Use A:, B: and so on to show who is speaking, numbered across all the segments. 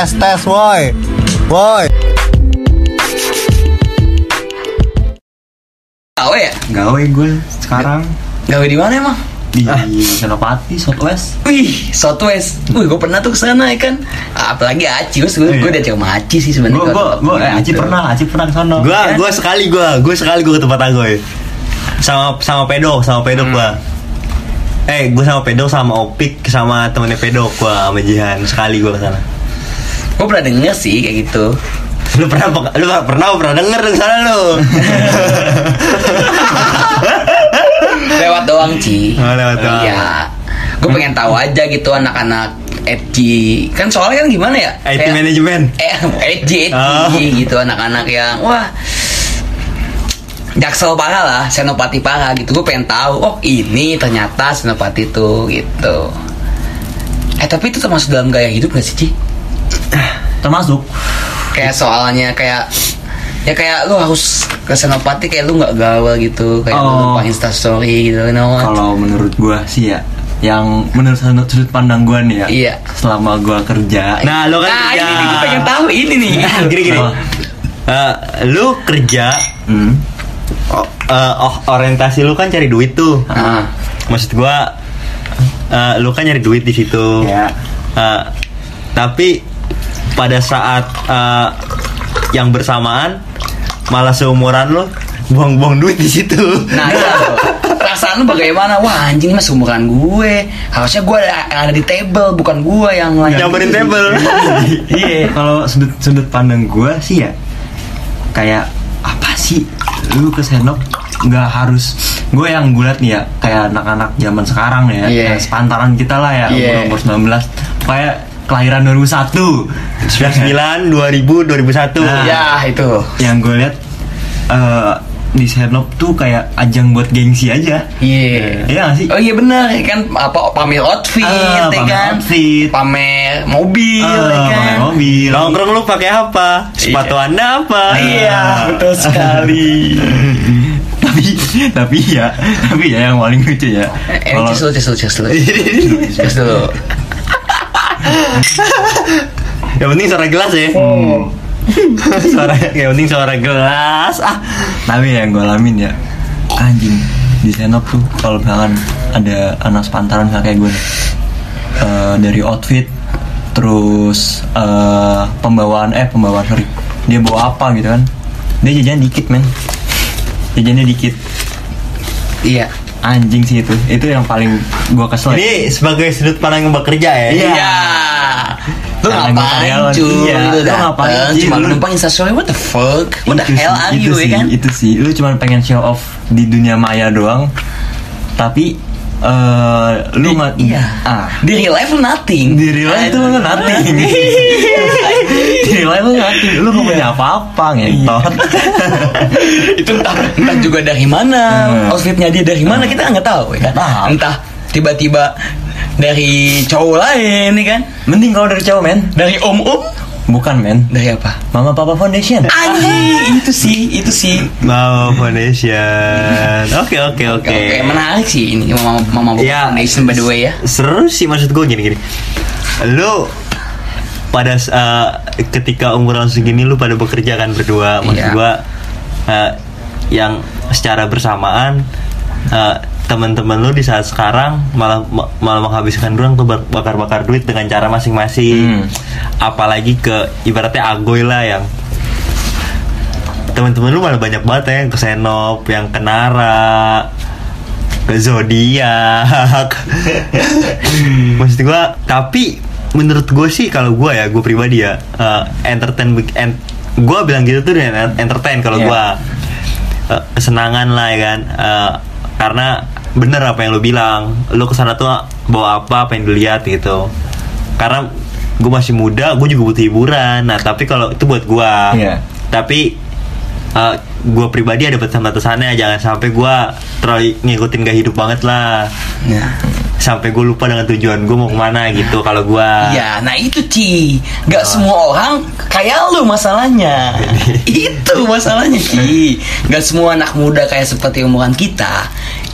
A: Tes tes woi. Woi.
B: Gawe ya?
C: Gawe gue sekarang
B: Gawe di mana emang?
C: di
A: Ah.
C: Senopati Southwest.
B: Wih, Southwest. Wih, gue pernah tuh kesana ya kan. Apalagi Aci, gue
C: Iya.
B: gue udah cuma Aci sih
C: Gue
B: sebenarnya.
C: gue
B: kalau
C: gue
B: tempat
C: eh Aci
B: gitu.
C: pernah, Aci pernah ke sono.
A: Gua gua sekali gua, gua sekali gua ke tempat Agoy. Sama sama pedo, sama pedo
C: Hmm.
A: gua. Eh, gua sama pedo sama Opik sama temennya pedo gua sama Jihan sekali gua ke sana.
B: Gue pernah denger sih kayak gitu.
A: Lu pernah pe- lu pernah pernah, pernah denger ke sana lu?
B: Lewat doang, Ci.
A: Oh, lewat doang.
B: Iya. Gue pengen tahu aja gitu anak-anak FG. Kan soalnya kan gimana ya?
A: IT
B: Kayak-
A: manajemen.
B: eh FG, FG
A: Oh.
B: gitu anak-anak yang wah Jaksel parah lah, Senopati parah gitu. Gue pengen tahu, oh ini ternyata Senopati itu gitu. Eh tapi itu termasuk dalam gaya hidup gak sih Ci?
C: Termasuk
B: Kayak soalnya kayak ya kayak lu harus ke Senopati kayak lu nggak gaul gitu, kayak lu
C: Oh.
B: lupa instastory gitu, you know what?
C: kalau menurut gue sih ya yang menurut sudut sudut pandang gue nih ya
B: Iya.
C: selama gue kerja
A: Nah, lu kan
B: Nah,
A: kerja.
B: ini nih, gue pengen tahu ini nih.
A: gini gini.
C: Oh.
A: Eh, lu kerja
C: hmm,
A: o- eh, oh, orientasi lu kan cari duit tuh.
B: Ah.
A: Maksud gua eh, lu kan nyari duit di situ.
B: Ya.
C: Iya.
A: Eh, tapi pada saat eh, yang bersamaan malah seumuran lu buang-buang duit di situ.
B: Nah, iya. perasaan lu bagaimana? Wah, anjing ini mah seumuran gue. Harusnya gue ada, yang ada di table, bukan gue yang lain.
A: Nyamperin table.
C: iya kalau sudut sudut pandang gue sih ya kayak apa sih lu ke senop nggak harus gue yang bulat nih ya kayak anak-anak zaman sekarang ya
B: Iya.
C: yang sepantaran kita lah ya
B: Iya.
C: umur umur 19 kayak kelahiran 2001
A: 99, 2000, 2001.
C: Nah.
B: Ya, itu.
C: yang gue lihat eh, di senop tuh kayak ajang buat gengsi aja
B: Iya.
C: Iya nggak sih?
B: Oh iya bener kan apa pamer outfit, ya
C: Ah, pamer
B: kan?
C: outfit.
B: Pamer mobil,
C: Eh,
B: ya kan?
C: pakai mobil Nah.
A: Nongkrong lu pakai apa? Sepatu Anda apa?
B: Iya, betul sekali.
C: tapi tapi ya tapi ya yang paling lucu ya
B: Eh,
C: kalau Iya.
B: cus dulu, cus dulu, cus dulu. Cus dulu.
A: Yang penting suara gelas ya.
C: Hmm.
A: suara yang penting suara gelas. Ah,
C: tapi yang gue alamin ya anjing di senop tuh kalau misalkan ada anak sepantaran misalnya kayak gue nih, eh, dari outfit terus eh, pembawaan eh pembawaan sorry dia bawa apa gitu kan dia jajan dikit men jajannya dikit
B: Iya.
C: anjing sih itu itu yang paling gue kesel ya.
A: ini sebagai sudut pandang yang bekerja ya.
C: Iya.
B: Iya. Lu
C: Karena gua
B: ngapain
C: karyawan.
B: cuy?
C: Iya,
B: Lu
C: lu ngapain,
B: dateng
C: cuy?
B: cuma
C: Lu-
B: numpang instastory what the fuck? What the
C: Itu
B: hell
C: sih,
B: are
C: itu
B: you
C: sih,
B: ya kan?
C: Itu sih, lu cuma pengen show off di dunia maya doang. Tapi eh lu nggak
B: Iya.
C: Ah,
B: Di real life lu nothing.
C: di real life tuh lu nothing. di real life lu nothing. Lu nggak
B: Iya.
C: punya apa-apa ngentot.
B: itu entah, entah juga dari mana,
C: Hmm.
B: outfitnya dia dari mana kita nggak tahu ya kan.
C: Tahu.
B: Entah tiba-tiba dari cowok lain nih kan,
C: Mending kalau dari cowok, men.
B: dari om om,
C: Bukan, men.
B: dari apa?
C: Mama Papa Foundation.
B: Ah. Anjing, itu sih, itu sih.
A: Mau Foundation. Oke oke
B: Oke,
A: oke.
B: menarik sih ini mama mama Bob
C: Iya.
A: Ya.
B: Foundation by the way ya.
A: Seru sih maksud gue gini gini. Lu pada eh, ketika umur langsung gini lu pada bekerja kan berdua maksud
B: Iya.
A: gua eh, yang secara bersamaan eh, teman-teman lu di saat sekarang malah malah menghabiskan doang tuh bak- bakar-bakar duit dengan cara masing-masing
C: Hmm.
A: apalagi ke ibaratnya agoy lah yang teman-teman lu malah banyak banget ya yang ke Senop, yang ke Nara, ke Zodiak. Maksud gua, tapi menurut gue sih kalau gua ya, gue pribadi ya, eh, entertain, ent, gue bilang gitu tuh dengan entertain kalau
C: Iya.
A: gua eh, kesenangan lah ya kan, Eh, karena bener apa yang lu bilang, lu kesana tuh bawa apa, apa yang dilihat gitu, karena gue masih muda, gue juga butuh hiburan. Nah, tapi kalau itu buat gua
C: Iya.
A: Ah, tapi gue pribadi ada batasan-batasannya jangan sampai gue terlalu ngikutin gak hidup banget lah
C: Iya.
B: Nah.
A: sampai gue lupa dengan tujuan gue mau kemana gitu kalau gue
C: Iya,
B: Ya, nah itu Ci
A: Ah.
B: Gak semua orang kayak lu masalahnya Itu masalahnya Ci Gak semua anak muda kayak seperti umuran kita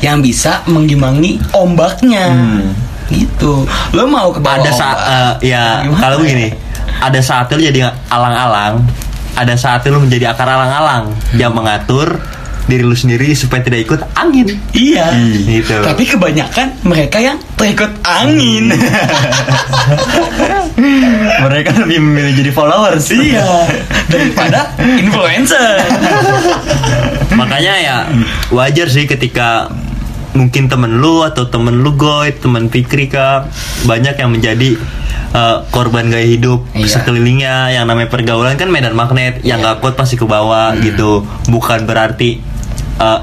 B: Yang bisa mengimbangi ombaknya
C: Hmm.
B: Gitu Lu mau ke bawah
A: ada saat
B: ombak.
A: ya
B: Gimana
A: kalau
B: ya?
A: gini ada saatnya lu jadi alang-alang ada saatnya lu menjadi akar alang-alang yang mengatur diri lu sendiri supaya tidak ikut angin
B: Iya.
A: Gitu.
B: Tapi kebanyakan mereka yang terikut angin.
A: Hmm.
C: mereka lebih memilih jadi followers
B: iya. Daripada influencer.
A: makanya ya wajar sih ketika mungkin temen lu atau temen lu goy temen Fikri kah banyak yang menjadi eh, korban gaya hidup
B: Iya.
A: sekelilingnya yang namanya pergaulan kan medan magnet yang gak kuat pasti ke bawah
B: Hmm.
A: gitu bukan berarti eh,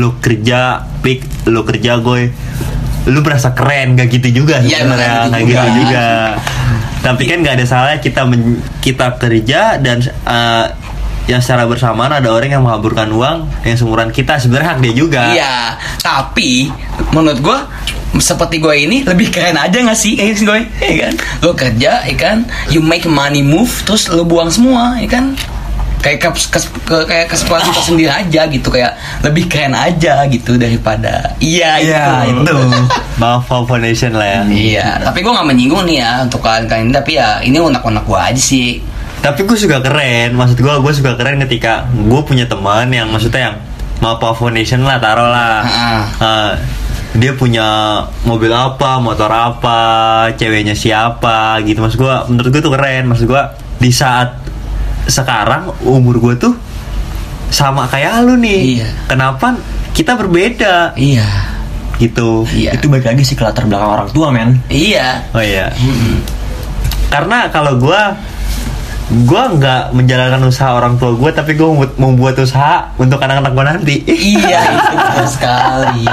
A: lu kerja pik lu kerja goy lu merasa keren gak gitu juga
B: Iya,
A: sebenarnya gak
B: emang gak
A: gitu
B: gitu juga.
A: juga tapi kan nggak ada salahnya kita men- kita kerja dan eh, yang secara bersamaan ada orang yang menghaburkan uang yang seumuran kita sebenarnya hak dia juga
B: iya. Tapi menurut gua seperti gue ini lebih keren aja gak sih guys gue ya kan lo kerja ya kan you make money move terus lo buang semua ya kan kayak ke, ke- ke- kayak kesempatan kita sendiri aja gitu kayak lebih keren aja gitu daripada iya
C: Iya,
B: itu,
C: itu.
A: maaf Pop foundation lah ya
B: Iya, tapi gue gak menyinggung nih ya untuk kalian-kalian Tapi ya ini unak-unak gue aja sih
A: tapi gue suka keren maksud gue gue suka keren ketika gue punya teman yang maksudnya yang mau Pop foundation lah taruh lah
B: Ah.
A: Eh, dia punya mobil apa motor apa ceweknya siapa gitu maksud gue menurut gue tuh keren maksud gue di saat sekarang umur gue tuh sama kayak lu nih
B: Iya.
A: kenapa kita berbeda
B: Iya
A: gitu
B: Iya
C: itu baik lagi sih ke latar belakang orang tua men
B: Iya
A: Oh iya. Karena kalau gua gua nggak menjalankan usaha orang tua gua tapi gua membuat, membuat usaha untuk anak-anak gua nanti.
B: Iya itu betul sekali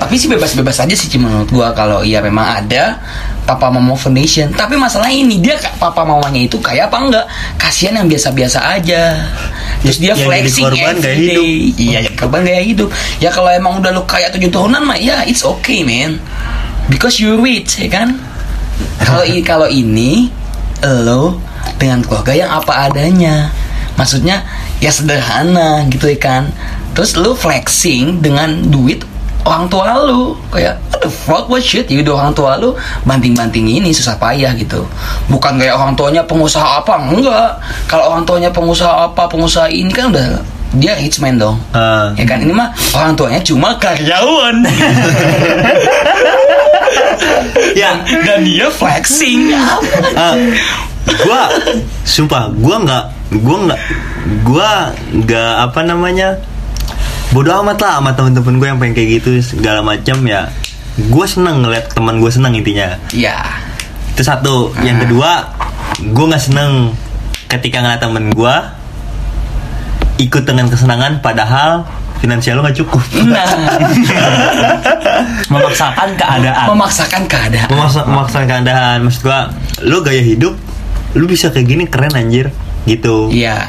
B: Tapi sih bebas-bebas aja sih cuma menurut gue Kalau iya memang ada Papa Mama Foundation Tapi masalah ini Dia ka- papa mamanya itu kayak apa enggak Kasian yang biasa-biasa aja Terus
A: Yang
B: dia
A: jadi
B: flexing
A: korban gaya
B: everyday.
A: hidup.
B: Iya jadi korban gaya hidup Ya kalau emang udah lu kaya 7 tahunan mah Ya it's okay man Because you rich ya kan Kalau i- kalau ini Lo dengan keluarga yang apa adanya Maksudnya ya sederhana gitu ya kan Terus lu flexing dengan duit orang tua lu kayak what the fuck what shit ya udah orang tua lu banting-banting ini susah payah gitu bukan kayak orang tuanya pengusaha apa enggak kalau orang tuanya pengusaha apa pengusaha ini kan udah dia rich man dong
A: Eh,
B: ya kan ini mah orang tuanya cuma karyawan
A: ya,
B: dan dia flexing
A: eh, gua sumpah gua nggak gua nggak gua nggak apa namanya bodoh amat lah sama temen-temen gue yang pengen kayak gitu segala macam ya gue seneng ngeliat teman gue seneng intinya
B: ya
A: itu satu yang kedua gue nggak seneng ketika ngeliat temen gue ikut dengan kesenangan padahal finansial lo nggak cukup
B: nah
C: memaksakan keadaan
B: memaksakan keadaan
A: memaksa memaksakan keadaan maksud gue lo gaya hidup lo bisa kayak gini keren anjir gitu
B: iya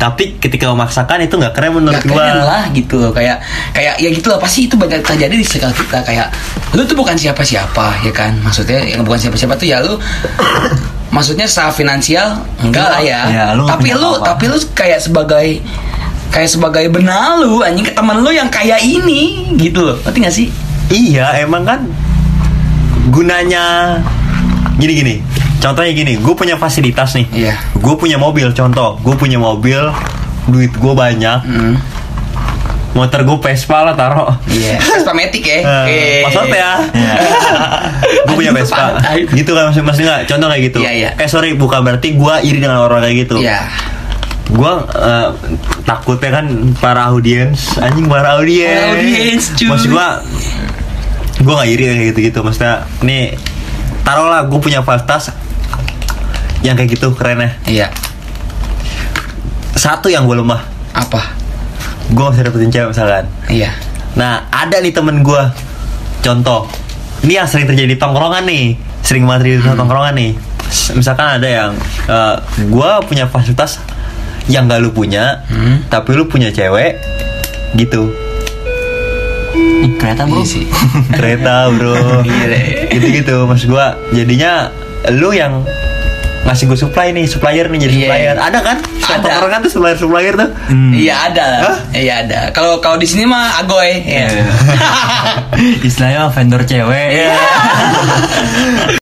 A: tapi ketika memaksakan itu nggak keren menurut
B: nggak keren
A: gue
B: lah gitu loh kayak kayak ya gitu lah pasti itu banyak terjadi di sekitar kita kayak lu tuh bukan siapa-siapa ya kan maksudnya yang bukan siapa-siapa tuh ya lu maksudnya secara finansial enggak lah ya,
C: Ya, lu nggak
B: tapi
C: punya
B: lu
C: apa-apa.
B: tapi lu kayak sebagai kayak sebagai benalu anjing ke teman lu yang kaya ini gitu loh ngerti gak sih
A: Iya, emang kan gunanya gini gini. Contohnya gini, gue punya fasilitas nih.
B: Iya.
A: Gue punya mobil. Contoh, gue punya mobil, duit gue banyak,
B: hmm.
A: motor gue Vespa lah taruh.
B: Iya, Vespa Matic ya.
A: Eh, Mas Orte ya. gue punya
B: Iya. Anjing,
A: Vespa.
B: parah.
A: gitu kan maksud maksudnya nggak? Contoh kayak gitu.
B: Iya, iya.
A: Eh sorry, bukan berarti gue iri dengan orang kayak gitu.
B: Iya.
A: Gue eh, takutnya kan para audiens, anjing para audiens.
B: Para audiens, cuy.
A: Maksud gue, gue nggak iri kayak gitu-gitu. Maksudnya, nih taruhlah gue punya fasilitas yang kayak gitu keren ya.
B: Iya.
A: Satu yang gue lemah,
B: Apa?
A: gue nggak bisa dapetin cewek misalkan.
B: Iya.
A: Nah, ada nih temen gue. Contoh, ini yang sering terjadi di tongkrongan nih, sering banget terjadi di
B: Hmm.
A: tongkrongan nih. S- Misalkan ada yang gue punya fasilitas yang gak lu punya,
B: Hmm.
A: tapi lu punya cewek, gitu.
C: Ih, kelihatan
B: Iya
C: bro
B: sih.
A: Kereta bro,
B: Iya, deh.
A: gitu-gitu. Mas gue, jadinya lu yang ngasih gue supply nih, supplier nih jadi
B: Iya,
A: supplier.
B: iya.
A: Ada kan? Setiap
B: Ada.
A: Tongkrongan tuh supplier-supplier tuh.
B: Iya ada.
A: Hah?
B: Iya ada. Kalau kalau di sini mah agoy. Iya.
C: Istilahnya vendor cewek